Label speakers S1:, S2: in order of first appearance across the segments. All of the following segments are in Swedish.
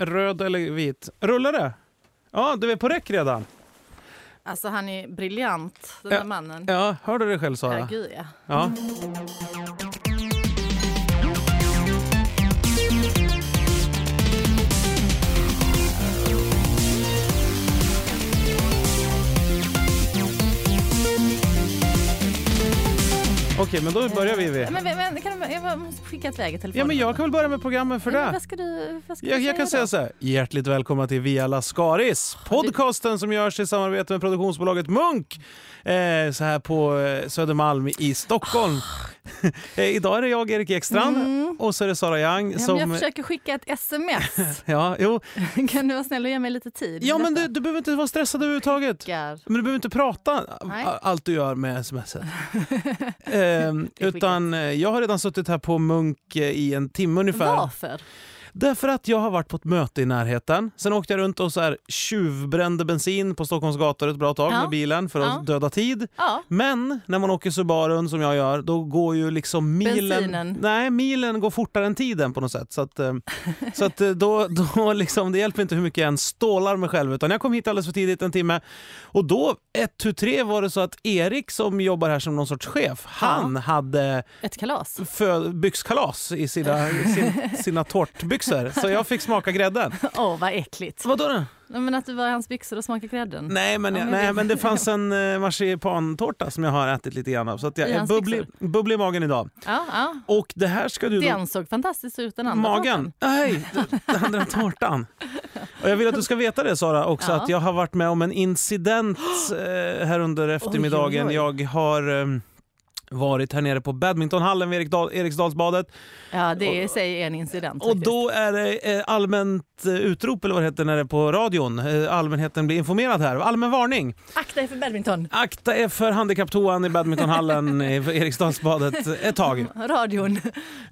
S1: röd eller vit? Rullar det? Ja, du är på räck redan.
S2: Alltså han är briljant, den där
S1: Ja,
S2: mannen.
S1: Ja, hörde du det själv
S2: Ja,
S1: Sara?
S2: gud ja.
S1: Ja. Okej, men då börjar vi. Vivi.
S2: Men, men, men kan du, jag måste skicka ett läge i telefonen.
S1: Ja, men jag kan väl börja med programmen för
S2: Men
S1: det.
S2: Vad ska du, vad ska
S1: Jag,
S2: du
S1: jag kan
S2: säga
S1: säga
S2: då?
S1: så här. Hjärtligt välkomna till Via Lascaris. Podcasten som görs i samarbete med produktionsbolaget Munk. Eh, så här på eh, Södermalm i Stockholm. eh, idag är det jag, Erik Ekstrand, och så är det Sara Young.
S2: Mm. Ja,
S1: som,
S2: men jag försöker skicka ett sms.
S1: ja, jo.
S2: kan du vara snäll och ge mig lite tid?
S1: ja,
S2: med
S1: men
S2: detta?
S1: du, du behöver inte vara stressad överhuvudtaget.
S2: Tackar.
S1: Men du behöver inte prata
S2: Nej.
S1: a- allt du gör med sms. ehm,
S2: skickligt.
S1: utan eh, jag har redan suttit här på Munk eh, i en timme ungefär.
S2: Varför?
S1: Därför att jag har varit på ett möte i närheten. Sen åkte jag runt och så här tjuvbrände bensin på Stockholms gator ett bra tag
S2: Ja.
S1: med bilen för att
S2: Ja.
S1: döda tid.
S2: Ja,
S1: Men när man åker Subarun som jag gör, då går ju liksom milen...
S2: Bensinen.
S1: Nej, milen går fortare än tiden på något sätt. Så att, eh, så att eh, då, då liksom, det hjälper inte hur mycket jag än stålar mig själv. Utan jag kom hit alldeles för tidigt, en timme. Och då, ett, tu, tre var det så att Erik som jobbar här som någon sorts chef, han hade
S2: ett kalas.
S1: för byxkalas i sina, sin, sina tårtbyxor. Så jag fick smaka grädden.
S2: Åh, vad äckligt.
S1: Vadå då?
S2: Nej, Men att du var i hans byxor och smakade grädden.
S1: Nej men,
S2: Ja,
S1: jag,
S2: men
S1: nej,
S2: det-
S1: men det fanns en eh, marsipantårta som jag har ätit lite grann av. Så att jag
S2: I
S1: är
S2: hans
S1: bubblig, bubblig i magen idag.
S2: Ja, ja.
S1: Och det här ska du... då-
S2: Den såg fantastisk ut den andra.
S1: Magen?
S2: tårtan.
S1: Nej, d- den andra tårtan. Och jag vill att du ska veta det Sara också,
S2: Ja.
S1: att jag har varit med om en incident eh, här under eftermiddagen.
S2: oj.
S1: Jag har eh, varit här nere på badmintonhallen vid Erikdal, Eriksdalsbadet
S2: Ja, det i sig är en incident.
S1: Och
S2: faktiskt.
S1: då är det eh, allmänt eh, utrop, eller vad det heter när det är på radion. Eh, Allmänheten blir informerad här. Allmän varning.
S2: Akta er för badminton.
S1: Akta er för handikapptoan i badmintonhallen i Eriksdalsbadet ett tag.
S2: Radion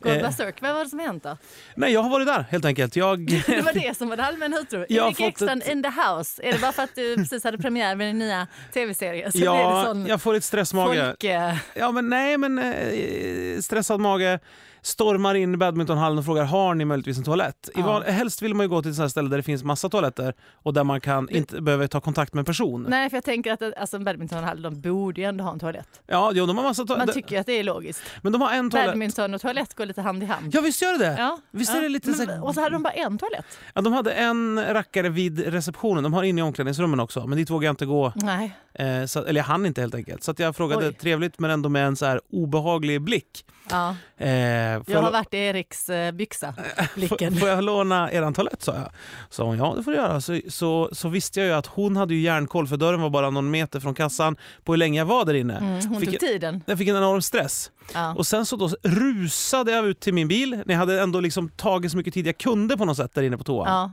S2: går
S1: Eh.
S2: berserk. Vad var det som hänt då?
S1: Nej, jag har varit där helt enkelt. Jag...
S2: Det var det som var det allmänna utrop.
S1: Jag har
S2: Erik
S1: fått
S2: Ekstrand in the house. Är det bara för att du precis hade premiär med din nya tv-serie? Så blir det
S1: Ja,
S2: sån
S1: jag får lite stressmage.
S2: folk... eh,
S1: Ja, men nej, men eh, stressad mage stormar in i badmintonhallen och frågar har ni möjligtvis en toalett? I
S2: Ja.
S1: van, helst vill man ju gå till ett sånt här ställe där det finns massa toaletter och där man kan inte behöver ta kontakt med en person.
S2: Nej, för jag tänker att alltså, en badmintonhall, de borde ju ändå ha en toalett.
S1: Ja, jo, de har massa
S2: Man
S1: toaletter.
S2: tycker ju att det är logiskt.
S1: Men de har en toalett.
S2: Badminton och toalett går lite hand i hand.
S1: Ja, visst gör det det?
S2: Ja,
S1: Visst
S2: ja.
S1: är det lite så
S2: Men, och så hade de bara en toalett?
S1: Ja, de hade en rackare vid receptionen. De har inne i omklädningsrummen också, men dit vågade jag inte gå.
S2: Nej.
S1: Eh, så, eller jag hann inte helt enkelt. Så att jag frågade
S2: Oj.
S1: trevligt men ändå med en så här obehaglig blick.
S2: Ja.
S1: Eh, får, jag,
S2: Jag har
S1: lo-
S2: varit i Eriks eh, byxa, blicken.
S1: får, får jag låna eran toalett? sa jag. Så hon, ja det får du göra. Så, så, så visste jag ju att hon hade ju järnkoll för dörren var bara någon meter från kassan på hur länge jag var där inne.
S2: Mm, hon
S1: fick
S2: tog tiden.
S1: jag fick en enorm stress.
S2: Ja.
S1: Och sen så då rusade jag ut till min bil när jag hade ändå liksom tagit så mycket tid jag kunde på något sätt där inne på toan.
S2: Ja.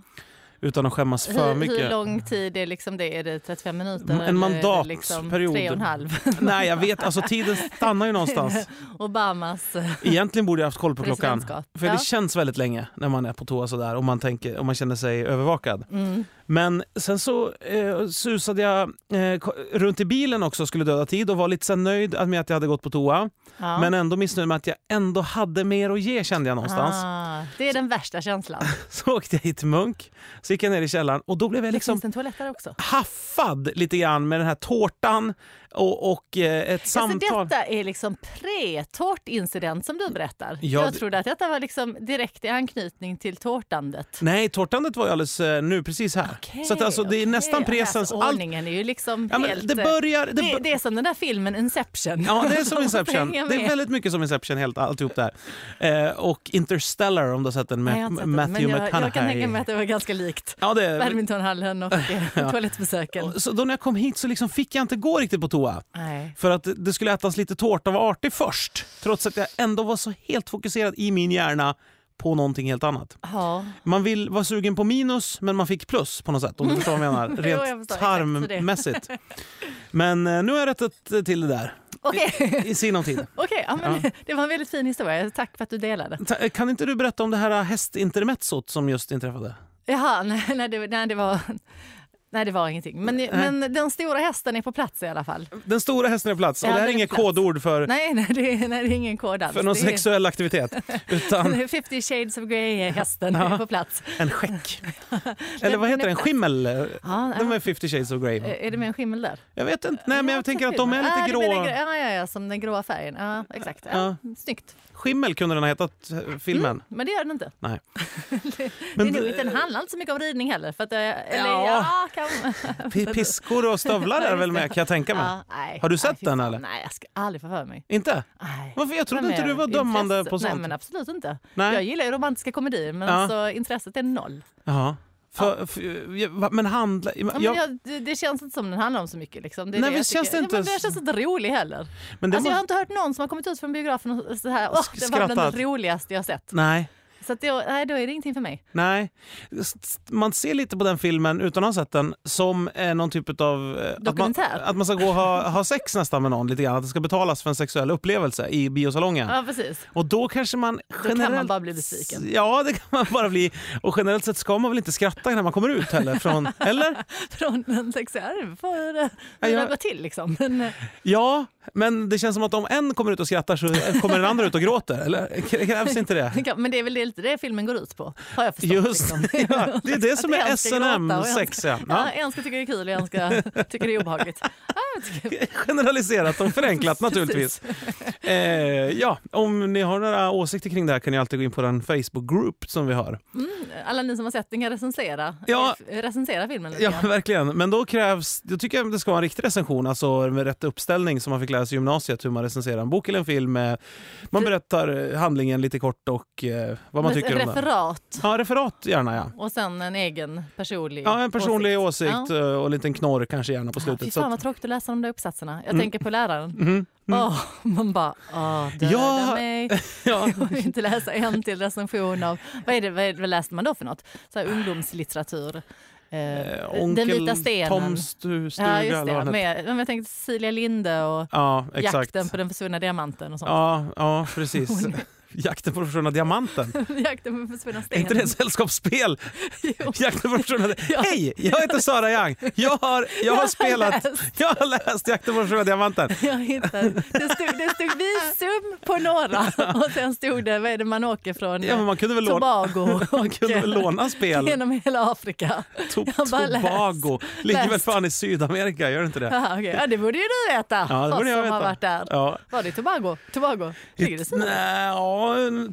S1: Utan att skämmas för
S2: Hur,
S1: mycket.
S2: hur lång tid är liksom det? Är det 35 minuter?
S1: En
S2: eller är det
S1: mandatperiod.
S2: Liksom tre och en halv.
S1: Nej, jag vet. Alltså tiden stannar ju någonstans.
S2: Obamas... eh,
S1: Egentligen borde jag haft koll på klockan.
S2: Presidentskap.
S1: För
S2: Ja.
S1: det känns väldigt länge när man är på toa sådär och man, tänker, och man känner sig övervakad.
S2: Mm.
S1: Men sen så eh, susade jag eh, ko- runt i bilen också och skulle döda tid och var lite så här nöjd med att jag hade gått på toa.
S2: Ja.
S1: Men ändå missnöjd med att jag ändå hade mer att ge kände jag någonstans.
S2: Ah, det är den värsta känslan.
S1: Så åkte jag hit till Munk, så gick jag ner i källaren och då blev jag
S2: Liksom,
S1: liksom
S2: Finns det en toalett där också?
S1: haffad lite grann med den här tårtan och, och eh, ett samtal.
S2: Alltså, detta är liksom pre-tårtincident som du berättar.
S1: Ja,
S2: jag
S1: det-
S2: trodde att detta var liksom direkt i anknytning till tårtandet.
S1: Nej, tårtandet var ju alldeles eh, nu, precis här. så att, alltså, det är
S2: okej.
S1: nästan presens.
S2: Alltså,
S1: Allt,
S2: ordningen är ju liksom
S1: ja, men
S2: helt...
S1: det börjar... Det,
S2: det,
S1: bör-
S2: det är som den där filmen Inception.
S1: Ja, det är som
S2: De
S1: Inception.
S2: hänger
S1: Det är
S2: med.
S1: väldigt mycket som Inception, helt, alltihop där. Eh, och Interstellar om du har sett den med
S2: Nej, jag har inte sett
S1: Matthew
S2: det, men jag, jag kan
S1: McConaughey.
S2: tänka mig att det var ganska likt.
S1: Ja, det är...
S2: Badmintonhallen och eh, toalettbesöken.
S1: Så då när jag kom hit så liksom fick jag inte gå riktigt på toa.
S2: Nej.
S1: För att det skulle ätas lite tårta och vara artig först. Trots att jag ändå var så helt fokuserad i min hjärna på någonting helt annat.
S2: Ja.
S1: Man vill vara sugen på minus, men man fick plus på något sätt. Om du förstår vad jag menar.
S2: Jo, jag
S1: Rent
S2: förstår exakt hur det är.
S1: tarmmässigt. Men eh, nu har jag rättat eh, till det där.
S2: Okej,
S1: I sinom tid.
S2: okej, ja, men det var en väldigt fin historia. Tack för att du delade.
S1: Ta- eh, Kan inte du berätta om det här hästintermezzot som just inträffade?
S2: Jaha, nej, nej, det, nej, det var... Nej, det var ingenting. Men, men den stora hästen är på plats i alla fall.
S1: Den stora hästen är på plats och
S2: Ja,
S1: det här är
S2: den är
S1: inget
S2: på plats.
S1: kodord för,
S2: Nej, nej, det, är- nej, det är ingen kod alls.
S1: för någon
S2: det är,
S1: sexuell aktivitet. Utan
S2: 50 shades of grey-hästen är på plats.
S1: en skäck. Eller vad heter
S2: den
S1: den?
S2: är-
S1: Skimmel?
S2: Ja,
S1: De
S2: ja. Eh,
S1: är 50 shades of grey. va?
S2: Är det med en skimmel där?
S1: Jag vet inte. Nej, men jag tänker att de är
S2: ah,
S1: lite
S2: det menar
S1: grå.
S2: jag. Ja, ja, ja, som den gråa färgen. Ja, exakt. Ja, Snyggt.
S1: Skimmel kunde den ha hetat, eh, filmen.
S2: Men det gör den inte.
S1: Nej.
S2: Mm, det
S1: Men
S2: är nog
S1: d-
S2: inte, den handlar inte så mycket om ridning heller. För att, eh, eller,
S1: Ja.
S2: ja. kan,
S1: P- Piskor och stövlar är det väl med kan jag tänka mig.
S2: ja, nej,
S1: Har du
S2: nej,
S1: sett
S2: fy
S1: den,
S2: fan,
S1: eller?
S2: Nej, jag ska aldrig få för mig.
S1: Inte?
S2: Nej.
S1: Varför? Jag trodde
S2: Vem
S1: inte
S2: är
S1: du var dömande
S2: intresset?
S1: på
S2: Nej,
S1: sånt.
S2: men absolut inte.
S1: Nej.
S2: Jag gillar ju romantiska komedier, men
S1: Ja.
S2: alltså, intresset är noll.
S1: Ja. För, för, jag- va- men handla...
S2: Ja,
S1: Jag,
S2: men jag, det, det känns inte som den handlar om så mycket. Liksom. Det är
S1: Nej,
S2: det
S1: men
S2: jag
S1: känns
S2: tycker.
S1: det inte
S2: ja, men den
S1: så-
S2: känns inte rolig heller.
S1: men det
S2: Alltså,
S1: var,
S2: jag har inte hört någon som har kommit ut från biografen och så här, åh,
S1: Sk-
S2: det var bland
S1: skrattat.
S2: det roligaste jag sett.
S1: Nej,
S2: Så att det, nej, då är det ingenting för mig.
S1: nej. S- Man ser lite på den filmen, utan att ha sett den, som eh, någon typ av... Att man,
S2: Dokumentär.
S1: att man ska gå och ha, ha sex nästan med någon, lite grann. Att det ska betalas för en sexuell upplevelse i biosalongen.
S2: Ja, precis.
S1: Och då kanske man generellt...
S2: kan man bara bli besviken.
S1: Ja, det kan man bara bli. Och generellt sett ska man väl inte skratta när man kommer ut heller? Från, eller?
S2: Från en sexarv får det
S1: Ja, jag-
S2: ja, till liksom. Men, eh,
S1: Ja, men det känns som att om en kommer ut och skrattar så kommer den andra ut och gråter. Eller K- krävs inte det?
S2: ja, men det är väl lite det filmen går ut på, har jag förstått.
S1: Just det, ja. det är det som
S2: liksom. Att
S1: är
S2: en ska gråta och en ska-
S1: SNM-sex. Ja.
S2: Ja,
S1: Ja.
S2: en ska tycka det är kul och en ska tycka det är obehagligt. Ja, jag tycker-
S1: Generaliserat och förenklat naturligtvis.
S2: Precis.
S1: Eh, ja, om ni har några åsikter kring det här kan ni alltid gå in på den Facebook-grupp som vi har.
S2: Alla ni som har sett den kan recensera,
S1: Ja.
S2: eh, recensera filmen lite
S1: Ja,
S2: grann.
S1: verkligen. Men då krävs, då tycker jag det ska vara en riktig recension, alltså med rätt uppställning som man fick lära sig i gymnasiet, hur man recenserar en bok eller en film. Eh, Man
S2: Det-
S1: berättar eh, handlingen lite kort och eh, vad man
S2: Ett
S1: tycker om den.
S2: referat
S1: Ja, referat gärna ja.
S2: och sen en egen personlig
S1: Ja, en personlig
S2: åsikt.
S1: åsikt,
S2: Ja.
S1: eh, och en liten knorr kanske gärna på
S2: Fy
S1: slutet. så
S2: fan
S1: att,
S2: vad tråkigt att läsa de där uppsatserna. Jag
S1: Mm.
S2: tänker på läraren.
S1: Mhm.
S2: Åh, man bara, åh, döda
S1: Ja.
S2: mig.
S1: ja.
S2: Jag vill inte läsa en till recension av, vad, är det, vad, är, vad läste man då för något? Så här, ungdomslitteratur. Eh,
S1: Eh, onkel
S2: Den vita stenen.
S1: Toms stu, stuga.
S2: ja, just
S1: eller
S2: det.
S1: vad den heter.
S2: Med, men jag tänkte Cecilia Linde och
S1: ja, exakt.
S2: jakten på den försvunna diamanten och sånt.
S1: Ja, ja precis. Jakten på den försvunna diamanten.
S2: jakten på den försvunna
S1: Är
S2: stenen.
S1: inte det ett sällskapsspel?
S2: Jo.
S1: Jakten på den försvunna
S2: Ja.
S1: diamanten. Hej, jag heter Sara Young. Jag har, jag har spelat...
S2: läst.
S1: Jag har läst Jakten på den försvunna diamanten.
S2: Jag hittade. Det, stod, det stod visum på några och sen stod det vad är det man åker från
S1: Ja, men man kunde väl låna,
S2: Tobago
S1: man kunde väl låna spel?
S2: genom hela Afrika.
S1: To,
S2: Jag bara läst.
S1: Tobago ligger väl
S2: Läst.
S1: fan i Sydamerika, gör det inte det?
S2: Aha, okej. Ja, det borde ju du veta,
S1: Ja, det borde
S2: oss
S1: jag
S2: som
S1: veta.
S2: har varit där.
S1: Ja.
S2: Var det Tobago? Tobago? Ligger det så?
S1: Nej, ja,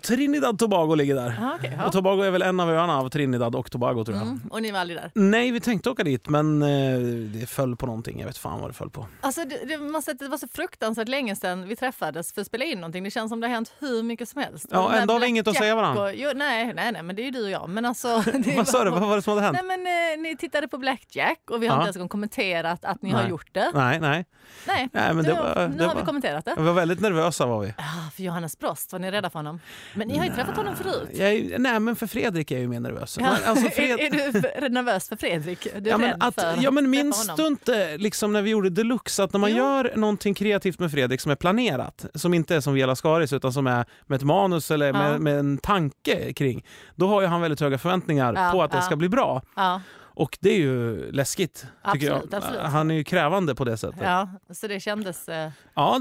S1: Trinidad Tobago ligger där.
S2: Ja, okej, ja.
S1: Och Tobago är väl en av öarna av Trinidad och Tobago tror jag.
S2: Mm, och ni var aldrig där?
S1: Nej, vi tänkte åka dit men eh, det föll på någonting. Jag vet fan vad det föll på.
S2: Alltså, det, det, man säger att det var så fruktansvärt länge sedan vi träffades för att spela in någonting. Det känns som det har hänt hur mycket som helst.
S1: Ja,
S2: Och de här
S1: ändå har vi inget att säga
S2: Blackjack
S1: varandra.
S2: och- Jo, nej, nej, nej, men det är ju du och jag. Men alltså, det är
S1: Vad sa
S2: bara-
S1: du? Vad var det som hade hänt?
S2: Nej, men, eh, ni tittade på Blackjack och vi har
S1: Ja.
S2: inte ens en gång kommenterat att ni har
S1: Nej.
S2: gjort det.
S1: Nej, nej.
S2: Nej,
S1: Nej, men
S2: nu,
S1: det var-
S2: nu
S1: det
S2: har
S1: var-
S2: vi kommenterat det.
S1: Vi var väldigt nervösa var vi.
S2: Ah, för Johannes Brost, var ni rädda för honom? Men ni har ju träffat honom förut.
S1: Jag, är ju- nej, men för Fredrik är jag ju mer nervös.
S2: Ja.
S1: Men, alltså,
S2: är,
S1: Fred...
S2: är du för- nervös för Fredrik? Du är
S1: Ja men,
S2: rädd
S1: att,
S2: för att
S1: ja, men
S2: träffa
S1: minns
S2: honom.
S1: du inte liksom, när vi gjorde Deluxe att när man
S2: Jo.
S1: gör någonting kreativt med Fredrik som är planerat, som inte är som Viola Skaris utan som är med ett manus eller med,
S2: Ja.
S1: med en tanke kring, då har ju han väldigt höga förväntningar
S2: Ja,
S1: på att det
S2: ja.
S1: ska bli bra.
S2: Ja,
S1: Och det är ju läskigt. tycker
S2: Absolut,
S1: jag.
S2: absolut.
S1: Han är ju krävande på det sättet. Ja,
S2: ja, så det kändes... eh,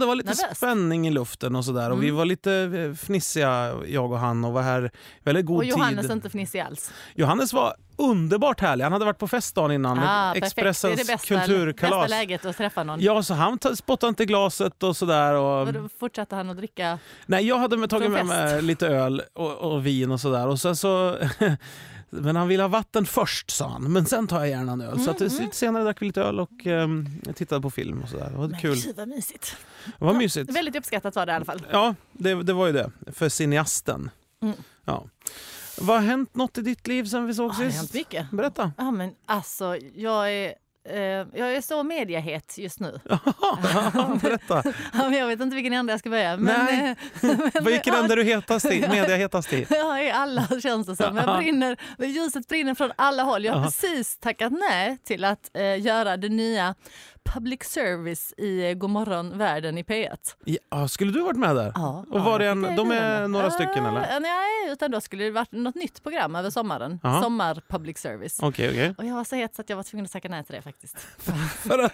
S1: det var lite
S2: Nervöst. Mm.
S1: spänning i luften och sådär. Och vi var lite eh, fnissiga, jag och han, och var här väldigt god
S2: Och Johannes
S1: tid.
S2: är inte fnissig alls.
S1: Johannes var underbart härlig. Han hade varit på fest dagen innan
S2: Ah,
S1: med
S2: perfekt.
S1: Expressens
S2: det är det bästa, bästa
S1: kulturkalas.
S2: läget att träffa någon.
S1: Ja, så han t- spottade inte i glaset och sådär. Och,
S2: Och då fortsatte han att dricka.
S1: nej, jag hade med- tagit
S2: Från
S1: med mig lite öl och, och vin och sådär. Och sen så, men han ville ha vatten först sa han, men sen tar jag gärna en öl. så att,
S2: Mm,
S1: det- lite senare drack vi lite öl och ehm, tittade på film och sådär. Det var
S2: Men
S1: kul.
S2: gud vad mysigt.
S1: Det var mysigt.
S2: Väldigt uppskattat var det i alla fall.
S1: Ja, det, det var ju det. För cineasten.
S2: Mm.
S1: Ja. Vad har hänt något i ditt liv sen vi såg
S2: Ah, det har hänt
S1: sist?
S2: mycket.
S1: Berätta.
S2: Ja, men alltså, jag är eh, jag är så mediahet just nu.
S1: Ja, Berätta,
S2: Ja, men jag vet inte vilken ände jag ska börja. Men,
S1: Nej.
S2: eh, men,
S1: vilken ände du hetast i? Mediahetast i?
S2: Jag är alla känns det som. Jag brinner, ljuset brinner från alla håll. Jag har
S1: Ja.
S2: precis tackat nej till att eh, göra det nya public service i eh, Godmorgon världen i P1.
S1: Ja, skulle du varit med där?
S2: Ja,
S1: Och var det
S2: jag
S1: en-
S2: fick
S1: de är
S2: erbjudande.
S1: några stycken, eller?
S2: Eh, Nej, utan då skulle det varit något nytt program över sommaren.
S1: Jaha.
S2: Sommar public service.
S1: Okej, okej.
S2: Och jag var så het så att jag var tvungen att tacka nej till det faktiskt.
S1: För att-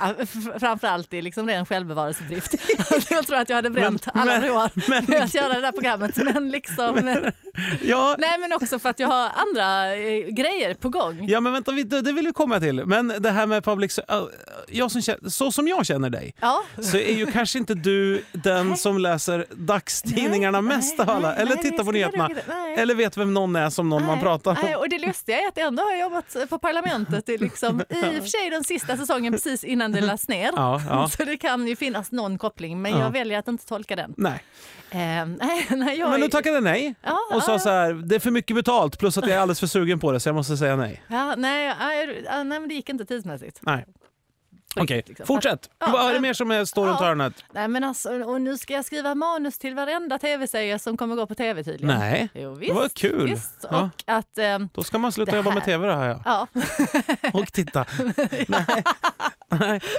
S2: Ja, f- Framförallt i liksom ren självbevarelsedrift. jag tror att jag hade bränt
S1: Men-
S2: alla
S1: men-
S2: broar
S1: men-
S2: med att göra det där programmet. Men liksom,
S1: Ja,
S2: nej men också för att jag har andra eh, grejer på gång.
S1: Ja men vänta, vi- det det vill vi komma till. Men det här med public se- äh, jag som känner, Så som jag känner dig
S2: Ja.
S1: så är ju kanske inte du den som läser dagstidningarna
S2: Nej,
S1: mest av alla.
S2: nej,
S1: Eller
S2: nej,
S1: tittar på
S2: det skulle
S1: nyheterna.
S2: jag nog- nej.
S1: Eller vet vem någon är som någon man
S2: Nej,
S1: pratar
S2: nej,
S1: om.
S2: och det lustiga är att ändå har jag jobbat på Parlamentet i, liksom, i och för sig den sista säsongen precis innan den lades ner.
S1: Ja, ja.
S2: Så det kan ju finnas någon koppling men
S1: Ja.
S2: jag väljer att inte tolka den.
S1: Nej.
S2: Eh, nej, nej, jag,
S1: Men du tackade nej
S2: ja,
S1: och sa
S2: ja,
S1: så här, det är för mycket betalt plus att jag är alldeles för sugen på det så jag måste säga nej.
S2: ja, nej, nej, nej, men det gick inte tidsmässigt.
S1: Nej.
S2: På
S1: Okej,
S2: riktigt, liksom.
S1: fortsätt.
S2: Ja,
S1: Vad är det
S2: men-
S1: mer som är- står runt
S2: Ja.
S1: hörnet?
S2: Nej, men alltså, och nu ska jag skriva manus till varenda tv-serie som kommer gå på tv tydligen.
S1: Nej,
S2: Jo, visst,
S1: det var kul.
S2: visst.
S1: Ja.
S2: Och att... ehm,
S1: Då ska man sluta
S2: Det
S1: jobba med
S2: här-
S1: tv det här ja.
S2: Ja,
S1: Och titta.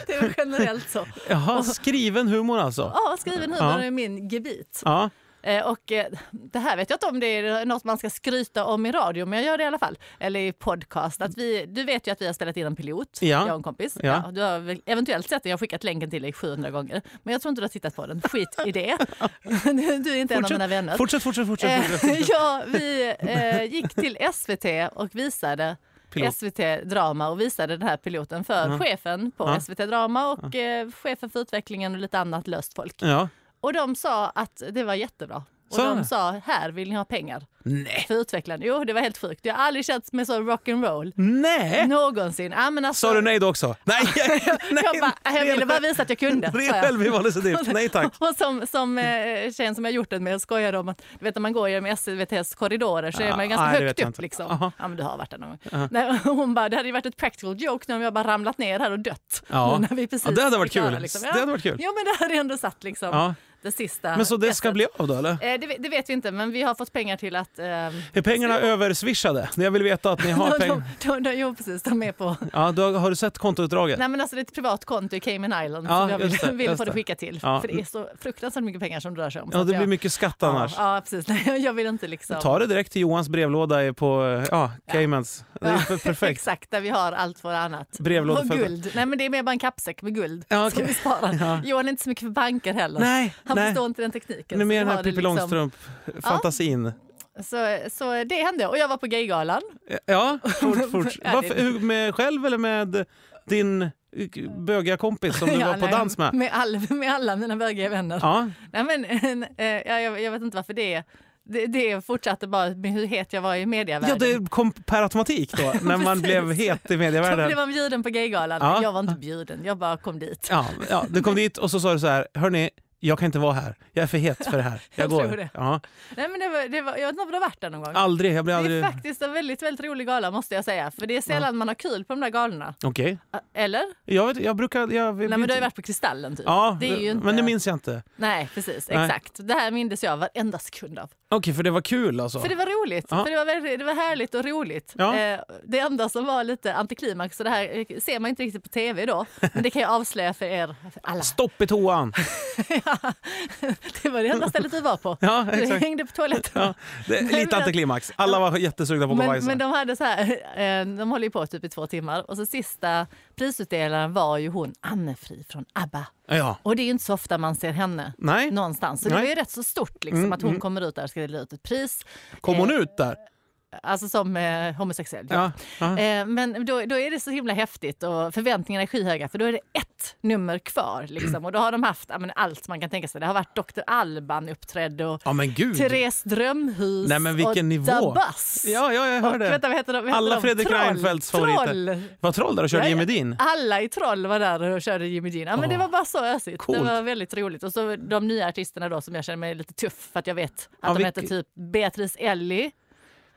S2: det är generellt så.
S1: Jaha, skriven humor alltså.
S2: Ja, skriven humor
S1: Ja.
S2: är min gebit.
S1: Ja.
S2: Eh, Och eh, det här vet jag inte om det är något man ska skryta om i radio, men jag gör det i alla fall. Eller i podcast. Att vi, du vet ju att vi har spelat in en pilot,
S1: Ja.
S2: jag och en kompis.
S1: Ja.
S2: du har väl eventuellt sett den, jag har skickat länken till dig 700 gånger. Men jag tror inte du har tittat på den. Skit i det. Du du är inte en av
S1: Fortsätt.
S2: mina vänner.
S1: Fortsätt, fortsätt, fortsätt. fortsätt.
S2: Eh, ja, vi eh, gick till SVT och visade
S1: Pilot.
S2: SVT Drama och visade den här piloten för
S1: Ja.
S2: chefen på
S1: Ja.
S2: SVT Drama och eh, chefen för utvecklingen och lite annat löst folk.
S1: Ja.
S2: Och de sa att det var jättebra. Och
S1: Sa
S2: de
S1: de?
S2: sa, här vill ni ha pengar
S1: Nej.
S2: för utvecklaren. Jo, det var helt sjukt. Jag har aldrig känt mig så rock'n'roll.
S1: Nej!
S2: Någonsin. Ja, men alltså,
S1: Äh? Sa du nej då också? Nej! nej.
S2: Jag, bara, jag ville bara visa att jag kunde. sa
S1: Det
S2: jag.
S1: är självbevarelsedrift. Nej tack.
S2: Och som, som eh, tjejen som jag gjort den med skojade om att du vet, när man går genom SVTs korridorer så är
S1: Ja,
S2: man ganska
S1: nej, det
S2: högt
S1: vet jag
S2: upp.
S1: inte.
S2: Liksom.
S1: Aha.
S2: Ja, men du har varit där någon gång. Nej, och hon bara, det hade ju varit ett practical joke nu om jag bara ramlat ner här och dött.
S1: Ja.
S2: Nu När vi precis
S1: Ja, det hade varit
S2: fick höra,
S1: kul.
S2: liksom.
S1: Det hade varit kul.
S2: Ja, men det hade ändå satt liksom,
S1: Ja.
S2: det sista.
S1: Men så det ska
S2: gässet.
S1: bli av då eller?
S2: Eh, det, ve- det vet vi inte, men vi har fått pengar till att... ehm,
S1: Är pengarna överswishade? Jag vill veta att ni har
S2: de, de,
S1: pengar.
S2: de, de, jo, precis. De är på...
S1: Ja, du har, har du sett kontoutdraget?
S2: Nej, men alltså, det är ett privat konto i Cayman Islands
S1: Ja,
S2: som jag vill,
S1: just det,
S2: vill
S1: just
S2: få det
S1: det.
S2: skickat till.
S1: Ja.
S2: För det är så fruktansvärt mycket pengar som det rör sig om. så
S1: Ja,
S2: att
S1: det
S2: jag-
S1: blir mycket skatt annars.
S2: Ja, ja precis. Nej, jag vill inte liksom...
S1: Ta det direkt till Johans brevlåda i- på eh, ja, Caymans. Det är ju perfekt.
S2: Exakt, där vi har allt vårt annat.
S1: Brevlåda
S2: och
S1: för-
S2: guld. Nej, men det är mer bara en kappsäck med guld
S1: Ja,
S2: som
S1: okej.
S2: vi sparar.
S1: Ja.
S2: Johan är inte så mycket för banker heller.
S1: Nej,
S2: Han
S1: nej.
S2: förstår inte den tekniken.
S1: Han är
S2: så
S1: mer
S2: vi
S1: den här
S2: har det
S1: Pippi
S2: liksom-
S1: Långstrump-fantasin.
S2: Så, så det hände. Och jag var på gaygalan.
S1: Ja, fort, fort.
S2: Eh, Ja, det-
S1: Varför, hur- med själv eller med din böga kompis som du
S2: Ja,
S1: var på
S2: nej,
S1: dans med?
S2: Med, all, med alla mina bögiga vänner.
S1: Ja,
S2: Nej, men, eh, ja, jag, jag vet inte varför det, det Det fortsatte bara med hur het jag var i
S1: Ja,
S2: mediavärlden.
S1: det kom per automatik då, när man
S2: Precis.
S1: blev het i
S2: Då blev
S1: medievärlden.
S2: man bjuden på gaygalan.
S1: Ja.
S2: Jag var inte bjuden, jag bara kom dit.
S1: Ja, ja, du kom dit och så sa du så här, hörni, jag kan inte vara här. Jag är för het för det här. Jag
S2: jag tror
S1: går.
S2: det.
S1: Ja,
S2: Nej, men det var, det var, jag vet inte om du har varit där någon gång?
S1: aldrig, jag blir
S2: Det är
S1: aldrig...
S2: faktiskt en väldigt, väldigt rolig gala måste jag säga. För det är sällan man har kul på de där galorna. Ah,
S1: Okej.
S2: Eller?
S1: Jag, vet, jag brukar... Jag,
S2: Nej men du har ju varit på Kristallen typ.
S1: Ja,
S2: det är ju inte...
S1: men det minns jag inte.
S2: Nej precis,
S1: Nej.
S2: exakt. Det här mindes jag varenda sekund av.
S1: Okej, för det var kul alltså.
S2: För det var roligt.
S1: Ja.
S2: För det, var väldigt, det var härligt och roligt.
S1: Ja.
S2: Eh, det enda som var lite antiklimax, så det här eh, ser man inte riktigt på tv då. Men det kan jag avslöja för er för alla.
S1: Stopp i toan!
S2: Ja. det var det enda stället du var på.
S1: Ja,
S2: du
S1: exakt.
S2: hängde på toaletten.
S1: Ja, det, är
S2: Nej,
S1: lite
S2: men-
S1: antiklimax. Alla var jättesugna på att gå
S2: Men,
S1: bajsa.
S2: men de hade så här, eh, de håller ju på typ i två timmar och så sista prisutdelaren var ju hon Anne-Fri från ABBA.
S1: Ja.
S2: Och det är ju inte så ofta man ser henne
S1: Nej,
S2: någonstans. Så det
S1: Nej. Mm,
S2: var ju rätt så stort liksom, att hon kommer ut där och ska dela ut ett pris.
S1: kom hon ut där?
S2: Alltså som eh, homosexuell.
S1: Ja. ja.
S2: Eh, men då, då är det så himla häftigt och förväntningarna är skyhöga för då är det ett nummer kvar. Liksom. Och då har de haft ja, men allt man kan tänka sig. Det har varit Dr. Alban uppträdde och
S1: Ja men gud.
S2: Therese Drömhus
S1: Nej, men
S2: och
S1: vilken nivå.
S2: Da Bass.
S1: Ja, ja, jag
S2: Och,
S1: hörde.
S2: vänta, vad heter de? Vad heter
S1: Alla
S2: de?
S1: Fredrik
S2: Troll.
S1: Reinfeldts favoriter. Mm.
S2: Troll.
S1: Var Troll där och körde
S2: Ja, ja.
S1: Jimmy Dean?
S2: Alla i Troll var där och körde Jimmy Dean. Ja, men Det
S1: Åh,
S2: var bara så ösigt. Det
S1: coolt.
S2: var väldigt roligt. Och så de nya artisterna då som jag känner mig lite tuff för att jag vet att
S1: Ja,
S2: de
S1: vilk-
S2: heter typ Beatrice Ellie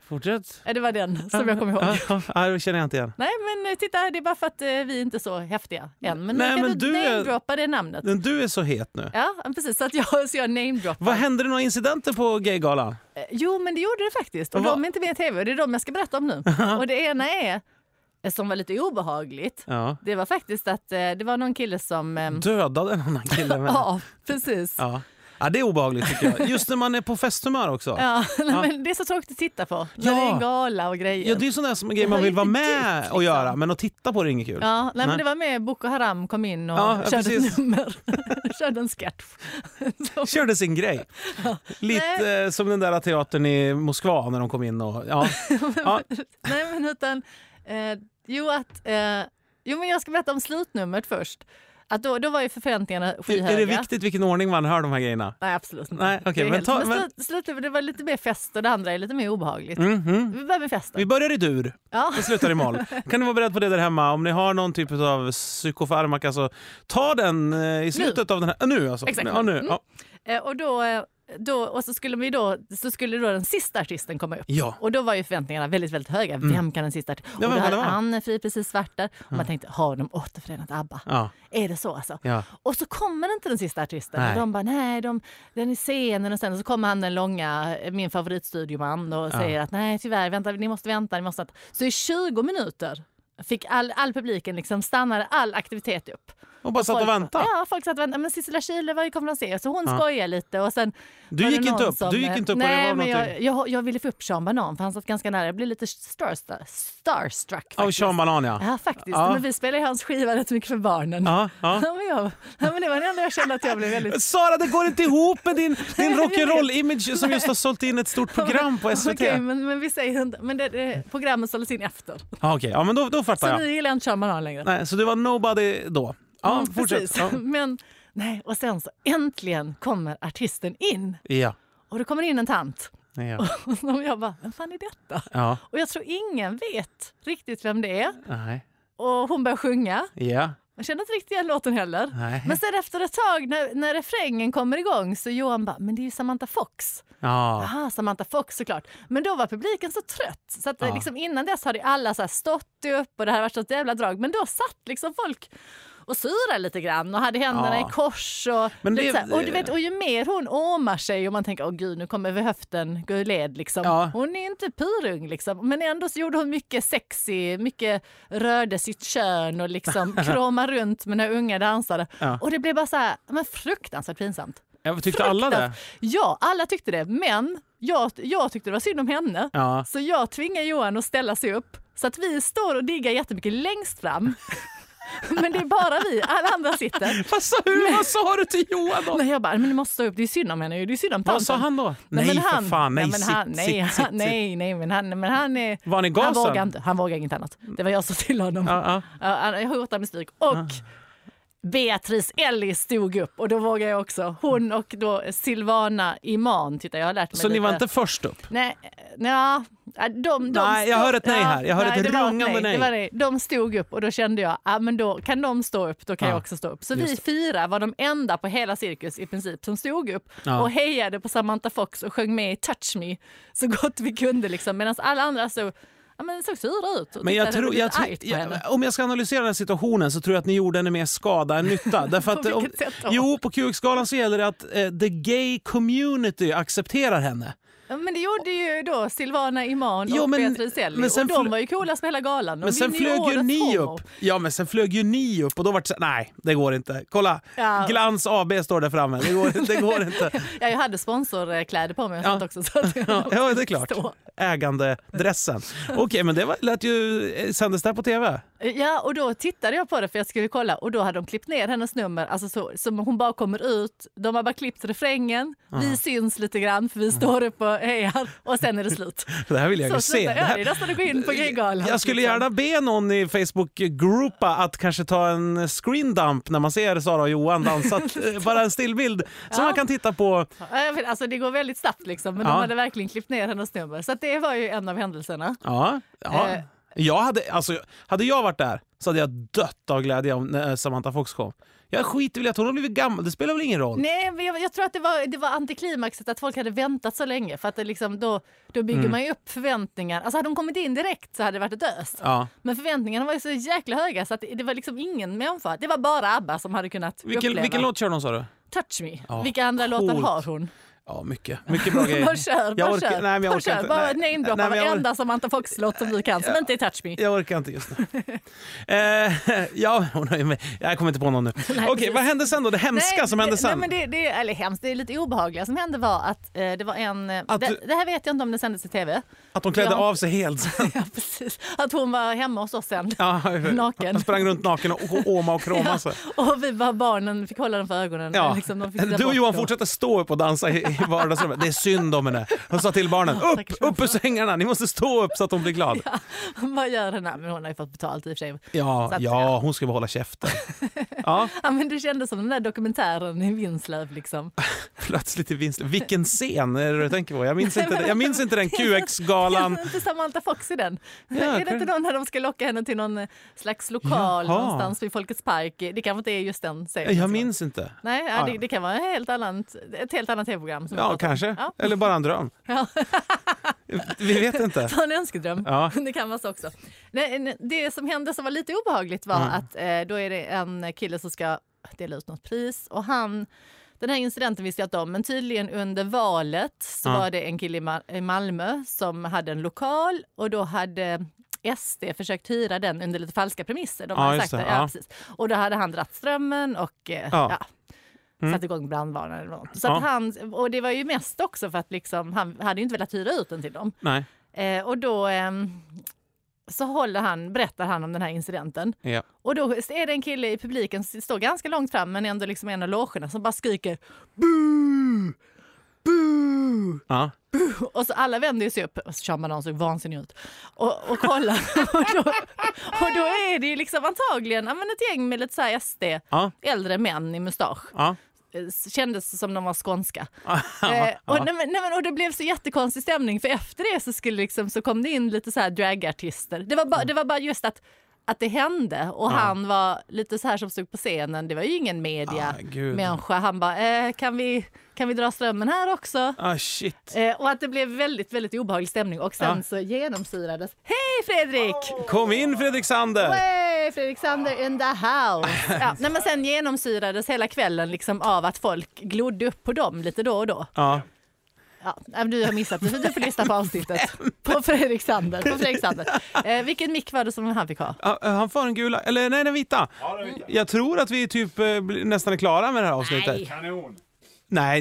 S1: Fortsätt.
S2: Ja, det var den som jag kommer ihåg.
S1: Ja, ja, ja, det känner jag inte igen.
S2: Nej, men eh, titta, det är bara för att eh, vi är inte är så häftiga än. Men
S1: Nej,
S2: kan
S1: men
S2: du
S1: du är-
S2: namedroppa det namnet.
S1: Men Du är så het nu.
S2: Ja, men precis. Så, att jag, så jag namedroppar.
S1: Vad hände det några incidenter på gaygalan?
S2: Eh, Jo, men det gjorde det faktiskt. Och
S1: Vad-
S2: de är inte med i tv och det är de jag ska berätta om nu. och det ena är, eh, som var lite obehagligt,
S1: Ja.
S2: det var faktiskt att eh, det var någon kille som... ehm,
S1: Dödade en annan kille med.
S2: ja, precis.
S1: Mm. Ja. ja, det är obehagligt tycker jag. Just när man är på festhumör också.
S2: Ja, nej,
S1: Ja.
S2: Men det är så tråkigt att titta på när
S1: Ja.
S2: det är en gala och grejer.
S1: Ja, det är ju sådana där som- grejer man
S2: Det var
S1: vill vara
S2: riktigt
S1: med
S2: dyrt,
S1: och
S2: liksom.
S1: göra, men att titta på det är inget kul.
S2: Ja, nej,
S1: Nej.
S2: men det var med Boko Haram kom in och
S1: Ja, ja,
S2: körde
S1: precis.
S2: ett nummer. körde en sketch. Som-
S1: Körde sin grej. Lite eh, som den där teatern i Moskva när de kom in och... Ja. Ja.
S2: nej, men utan... Eh, jo, att... Eh, jo, men jag ska berätta om slutnumret först. Att då, då var ju förväntningarna skyhöga.
S1: Är är det viktigt vilken ordning man hör de här grejerna?
S2: Nej, absolut inte.
S1: Nej, okej,
S2: det är
S1: men
S2: helt-
S1: ta- men-
S2: men slut, slutnumret, det var lite mer fest och det andra är lite mer obehagligt.
S1: Mhm.
S2: Vi börjar med festen.
S1: Vi börjar i dur
S2: Ja.
S1: och slutar i moll. Kan ni vara beredd på det där hemma? Om ni har någon typ av psykofarmaka så ta den eh, i slutet av den här... Nu alltså.
S2: Exakt.
S1: Ja, nu.
S2: Mm.
S1: Ja.
S2: Eh, och då, eh, då, och så skulle, vi då, så skulle då den sista artisten komma upp.
S1: ja.
S2: Och då var ju förväntningarna väldigt, väldigt höga.
S1: Mm.
S2: Vem kan den sista artisten?
S1: vem
S2: och då
S1: kan det
S2: hade
S1: vara?
S2: Anne-Fri precis varit där. Och man tänkte, har de återförenat ABBA?
S1: Ja.
S2: Är det så alltså?
S1: Ja.
S2: Och så kommer inte den sista artisten.
S1: Nej.
S2: Och de bara, nej, de, den är scenen och sen och så kommer han den långa, eh, min favoritstudioman och säger att nej, tyvärr, vänta, ni måste vänta, ni måste vänta. Så i 20 minuter fick all, all publiken liksom stannade all aktivitet upp.
S1: Och bara satt och
S2: Folk- "Äh,
S1: väntade.
S2: Ja, folk satt och väntade. Men Sissela Kyle var ju konferencier så hon skojade lite. Och sen
S1: Du
S2: var det
S1: gick inte
S2: någon
S1: upp. Du gick inte upp och det
S2: Nej,
S1: var
S2: men
S1: någonting.
S2: jag, jag, jag ville få upp Sean Banan för han satt ganska nära. Jag blev lite starstruck. starstruck
S1: Av
S2: faktiskt.
S1: Sean Banan ja.
S2: Ja, faktiskt.
S1: Ja.
S2: Men vi spelade ju hans skiva rätt mycket för barnen.
S1: ja, ja.
S2: Ja, men, jag, ja, men det var det enda jag kände att jag blev väldigt...
S1: Sara, det går inte ihop med din, din
S2: Nej, jag vet.
S1: rock'n'roll-image som just har sålt in ett stort program på SVT.
S2: Okej, men, men vi säger inte... Men det, det, programmet såldes in efter.
S1: Ja, okej. Ja, men då, då
S2: Så
S1: fattar jag.
S2: nu gillar jag inte Sean Banan längre.
S1: Nej, så du var nobody då? Ja,
S2: Mm,
S1: fortsätt.
S2: precis.
S1: Ja.
S2: Men, nej, och sen så äntligen kommer artisten in.
S1: Ja.
S2: Och då kommer det in en tant.
S1: Ja.
S2: Och jag bara, vem fan är detta?
S1: ja.
S2: Och jag tror ingen vet riktigt vem det är.
S1: Nej.
S2: Och hon börjar sjunga.
S1: Ja.
S2: Jag känner inte riktigt igen låten heller.
S1: Nej.
S2: Men sen efter ett tag när, när refrängen kommer igång så Johan bara, men det är ju Samantha Fox.
S1: Ja.
S2: Ah, Samantha Fox såklart. Men då var publiken så trött så att eh,
S1: Ja.
S2: liksom innan dess hade ju alla så här stått upp och det här var ett jävla drag. Men då satt liksom folk och surade lite grann och hade händerna
S1: Ja.
S2: i kors. Och,
S1: Men
S2: lite
S1: det-
S2: så här, och, du vet, och ju mer hon åmar sig och man tänker åh gud nu kommer över höften gå ur led liksom.
S1: Ja.
S2: Hon är inte purung liksom. Men ändå så gjorde hon mycket sexy, mycket rörde sitt kön och liksom krama runt med några unga dansare.
S1: Ja.
S2: Och det blev bara så här, men fruktansvärt pinsamt.
S1: Jag tyckte alla det?
S2: Ja, alla tyckte det. Men jag, jag tyckte det var synd om henne.
S1: Ja.
S2: Så jag tvingar Johan att ställa sig upp. Så att vi står och diggar jättemycket längst fram. men det är bara vi, alla andra sitter.
S1: Vad sa, hur, vad sa du till Johan då?
S2: Men jag bara, men du måste stå upp, det är synd om henne ju, det är synd om tanten.
S1: Vad sa han då? Nej,
S2: men
S1: för fan, nej,
S2: men
S1: sitt,
S2: han, nej,
S1: sitt,
S2: han,
S1: sitt, sitt.
S2: nej, nej, men han, men han är...
S1: Var han i
S2: Han
S1: gasen?
S2: vågar inte, han vågar inget annat. Det var jag som sa till honom.
S1: Ja, Ah. ja.
S2: Ja, han- Jag hotar med stryk. Och Beatrice Ellis stod upp och då vågade jag också. Hon och då Silvana Iman. Titta, jag har lärt mig
S1: Så
S2: lite.
S1: ni var inte först upp?
S2: Nej, nja, ja, eh, de, de
S1: Typ. Nej, jag hör ett nej här. Jag hör ett
S2: det var
S1: rungande nej.
S2: Det var nej. De stod upp och då kände jag, ah, men då kan de stå upp, då kan
S1: Ja,
S2: jag också stå upp. Så vi
S1: just
S2: fyra var de enda på hela cirkus i princip som stod upp
S1: Ja.
S2: och hejade på Samantha Fox och sjöng med i Touch Me så gott vi kunde liksom. Medan alla andra så, ja, men såg sura ut och
S1: Men jag
S2: tittade
S1: tror,
S2: lite
S1: jag tror,
S2: argt på henne.
S1: jag, om jag ska analysera den här situationen så tror jag att ni gjorde henne mer skada än nytta. Därför
S2: På
S1: att, om,
S2: vilket sätt då?
S1: jo, på QX-galan så gäller det att eh, the gay community accepterar henne.
S2: Ja, men det gjorde ju då Silvana Iman
S1: Jo,
S2: och
S1: men-
S2: Beatrice Ellie
S1: men sen
S2: och de
S1: fl-
S2: var ju coolast med hela galan. De
S1: Men sen
S2: vinner
S1: flög ju
S2: årets
S1: ni
S2: homo.
S1: upp. Ja, men sen flög ju ni upp och då var det så nej, det går inte. Kolla,
S2: Ja.
S1: Glans AB står där framme. Det går, det går inte.
S2: Ja, jag hade sponsorkläder på mig och
S1: Ja.
S2: sånt också. Så att
S1: Ja, ja, det är klart.
S2: Stå.
S1: Ägandedressen. Okej, men det var, lät ju... eh, Sändes det här på TV?
S2: Ja, och då tittade jag på det för jag skulle kolla och då hade de klippt ner hennes nummer. Alltså så, som hon bara kommer ut, de har bara klippt refrängen, vi syns lite grann för vi står upp och hejar och sen är det slut.
S1: Det här vill jag
S2: Så
S1: ju se.
S2: slutar
S1: Det
S2: jag, det är
S1: här,
S2: nästan att gå in på gaygalan.
S1: jag skulle
S2: liksom.
S1: gärna be någon i Facebook-gruppa att kanske ta en screen dump när man ser Sara och Johan dansa. Att, eh, Bara en stillbild som man kan titta på.
S2: Ja, jag vet, Alltså det går väldigt snabbt liksom, men
S1: Ja.
S2: de hade verkligen klippt ner hennes nummer. Så att det var ju en av händelserna.
S1: Ja, ja.
S2: Eh,
S1: Jag hade, alltså, hade jag varit där så hade jag dött av glädje om när eh, Samantha Fox kom. Jag skiter väl i att hon har blivit gammal, det spelar väl ingen roll?
S2: Nej, men jag, jag tror att det var, det var antiklimaxet att folk hade väntat så länge. För att det liksom, då, då bygger
S1: Mm.
S2: man ju upp förväntningar. Alltså hade de kommit in direkt så hade det varit ett ös.
S1: Ja.
S2: Men förväntningarna var ju så jäkla höga så att det var liksom ingen människa. Det var bara ABBA som hade kunnat
S1: Vilken,
S2: uppleva.
S1: vilken låt kör de sa du?
S2: Touch me.
S1: Ja,
S2: Vilka andra
S1: coolt.
S2: låtar har hon?
S1: Ja, mycket. Mycket bra grejer.
S2: Bara kör, bara
S1: Jag orkar-
S2: kör.
S1: nej, men jag
S2: bara
S1: orkar
S2: kör.
S1: inte.
S2: Bara
S1: Nej.
S2: namedroppa
S1: Nej, men jag or-
S2: varenda Samantha Fox-låt som du kan som inte är Touch me.
S1: Jag orkar inte just nu. eh, ja, hon har ju med. Jag kommer inte på någon nu. Okej,
S2: precis.
S1: vad hände sen då? Det hemska som hände
S2: det,
S1: sen?
S2: Nej, men det, det, eller hemskt, det är lite obehagliga som hände var att eh, det var en... eh,
S1: Att
S2: det,
S1: du-
S2: det här vet jag inte om det sändes i tv.
S1: Att hon klädde
S2: Ja.
S1: av sig helt sen.
S2: Ja, precis. Att hon var hemma hos oss sen.
S1: Ja,
S2: Naken.
S1: Hon sprang runt naken och å- åma och kroma sig.
S2: Och vi bara barnen fick hålla den för ögonen.
S1: Ja.
S2: Liksom, de fick titta
S1: du och
S2: bort
S1: Johan
S2: då.
S1: fortsätter stå upp och dansa i i vardagsrummet. Det är synd om henne. Hon sa till barnen,
S2: Ja,
S1: upp,
S2: tack.
S1: upp ur sängarna, ni måste stå upp så att hon blir glad.
S2: Vad gör hon? Nej, men hon har ju fått betalt i och för sig. Så
S1: Ja,
S2: att-
S1: ja hon ska bara hålla käften. Ja,
S2: Ja, men det kändes som den där dokumentären i Vinslöv. Liksom.
S1: plötsligt i vinst. Vilken scen är det du tänker på? Jag minns inte, den- jag minns inte den QX-galan.
S2: Finns inte Samantha Fox i den? är det
S1: kan-
S2: inte någon när de ska locka henne till någon eh, slags lokal
S1: Jaha.
S2: någonstans vid Folkets park? Det kanske inte är just den serien.
S1: Jag minns inte.
S2: Nej,
S1: Ja,
S2: ja, det,
S1: ja.
S2: det kan vara en helt annat, ett helt annat tv-program. som jag
S1: Ja,
S2: pratar om.
S1: kanske.
S2: Ja.
S1: Eller bara en dröm.
S2: Ja.
S1: Vi vet inte.
S2: Ta en önskedröm.
S1: Ja.
S2: Det kan vara så också. Nej, nej, Det som hände som var lite obehagligt
S1: Mm.
S2: var att eh, då är det en kille som ska dela ut något pris och han den här incidenten visste jag inte om, men tydligen under valet så
S1: Ja.
S2: var det en kille i Ma- i Malmö som hade en lokal och då hade SD försökt hyra den under lite falska premisser. De
S1: Ja,
S2: hade
S1: just
S2: sagt
S1: det,
S2: det.
S1: ja.
S2: Ja, precis. Och då hade han dratt strömmen och eh,
S1: Ja. Mm.
S2: ja, satt igång brandvarnare eller något. Så
S1: Ja.
S2: att han, och det var ju mest också för att liksom, han hade ju inte velat hyra ut den till dem.
S1: Nej.
S2: Eh, och då ehm, så håller han, berättar han om den här incidenten.
S1: Ja.
S2: Och då är det en kille i publiken, s- står ganska långt fram men ändå liksom i en av logerna som bara skriker bu! Bu!
S1: Ja.
S2: Och så alla vänder ju sig upp, och så kör man någon så vansinnig ut, och, och kollar. och, då, och då är det ju liksom antagligen ja, men ett gäng med lite så här SD,
S1: Ja.
S2: äldre män i mustasch
S1: Ja.
S2: eh, kändes som de var skånska. Eh, och, nej, men- nej, men, och det blev så jättekonstig stämning för efter det så, skulle liksom, så kom det in lite så här dragartister. Det var, bara-
S1: Mm.
S2: det var bara just att, att det hände och han var lite så här som stod på scenen. Det var ju ingen
S1: Ah,
S2: media
S1: gud.
S2: människa. Han bara, eh, kan, vi, kan vi dra strömmen här också?
S1: Ah, shit.
S2: Eh, och att det blev väldigt, väldigt obehaglig stämning och sen
S1: Ja.
S2: så genomsyrades. Hej Fredrik!
S1: Kom in Fredrik Sander!
S2: Hey, Fredrik Sander in the house! Ja, nej, men sen genomsyrades hela kvällen liksom av att folk glodde upp på dem lite då och då.
S1: Ja.
S2: Ja, nej, men du har missat det, så du får lyssna på avsnittet. På Fredrik Sander. På Fredrik Sander. Eh, vilken mick var det som han fick ha?
S1: Ja, Han får en gula, eller nej den vita. Jag tror att vi typ eh, blir- nästan är klara med det här avsnittet. Nej,
S3: Kanon!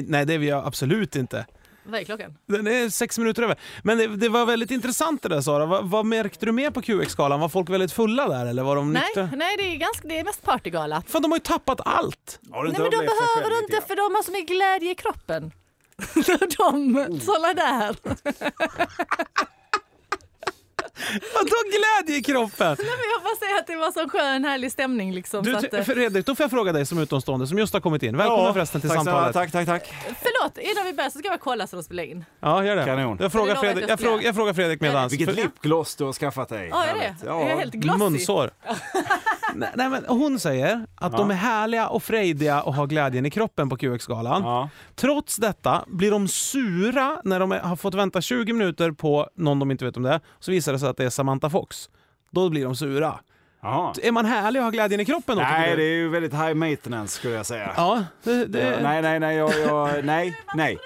S1: nej, det är vi absolut inte.
S2: Vad är klockan?
S1: Den är sex minuter över. Men det, det var väldigt intressant det där Sara. Vad, vad märkte du mer på QX-galan? Var folk väldigt fulla där eller var de
S2: Nej,
S1: nyktra?
S2: nej det, är ganska, det är mest partygala.
S1: Fan, de har ju tappat allt!
S3: Har du
S2: Nej men de
S3: upplevt sig själv
S2: behöver
S3: lite
S2: inte för de har så mycket glädje i kroppen. de,
S3: Oh.
S2: såna där.
S1: Vadå glädje i kroppen?
S2: Nej, men jag bara säger att det var så skön härlig stämning liksom.
S1: Du,
S2: så att, eh,
S1: Fredrik, då får jag fråga dig som utomstående som just har kommit in. Välkommen förresten till
S3: tack,
S1: samtalet.
S3: Tack, tack, tack.
S2: förlåt, innan vi börjar så ska jag bara kolla så de spelar in.
S1: Ja, gör det.
S3: Kanon.
S1: Jag
S2: Jag
S1: frågar
S2: lovar att
S1: Fredrik,
S2: jag
S1: jag
S2: ska
S1: frågar,
S2: göra.
S1: jag frågar Fredrik medans.
S3: Vilket
S1: För-
S3: lipgloss du har skaffat dig.
S2: Ja, är det?
S3: Härligt. Ja.
S2: Är jag helt glossy?
S1: Munsår. nej, nej, men hon säger att de är härliga och frejdiga och har glädjen i kroppen på QX-galan.
S3: Ja.
S1: Trots detta blir de sura när de är, har fått vänta 20 minuter på någon de inte vet om det är. Så visar det sig att det är Samantha Fox. Då blir de sura.
S3: Jaha.
S1: Är man härlig och har glädjen i kroppen då? tycker
S3: Nej,
S1: du?
S3: det är ju väldigt high maintenance skulle jag säga.
S1: Ja, det, det...
S3: Ja, Nej, nej, nej, jag, jag, nej, nej.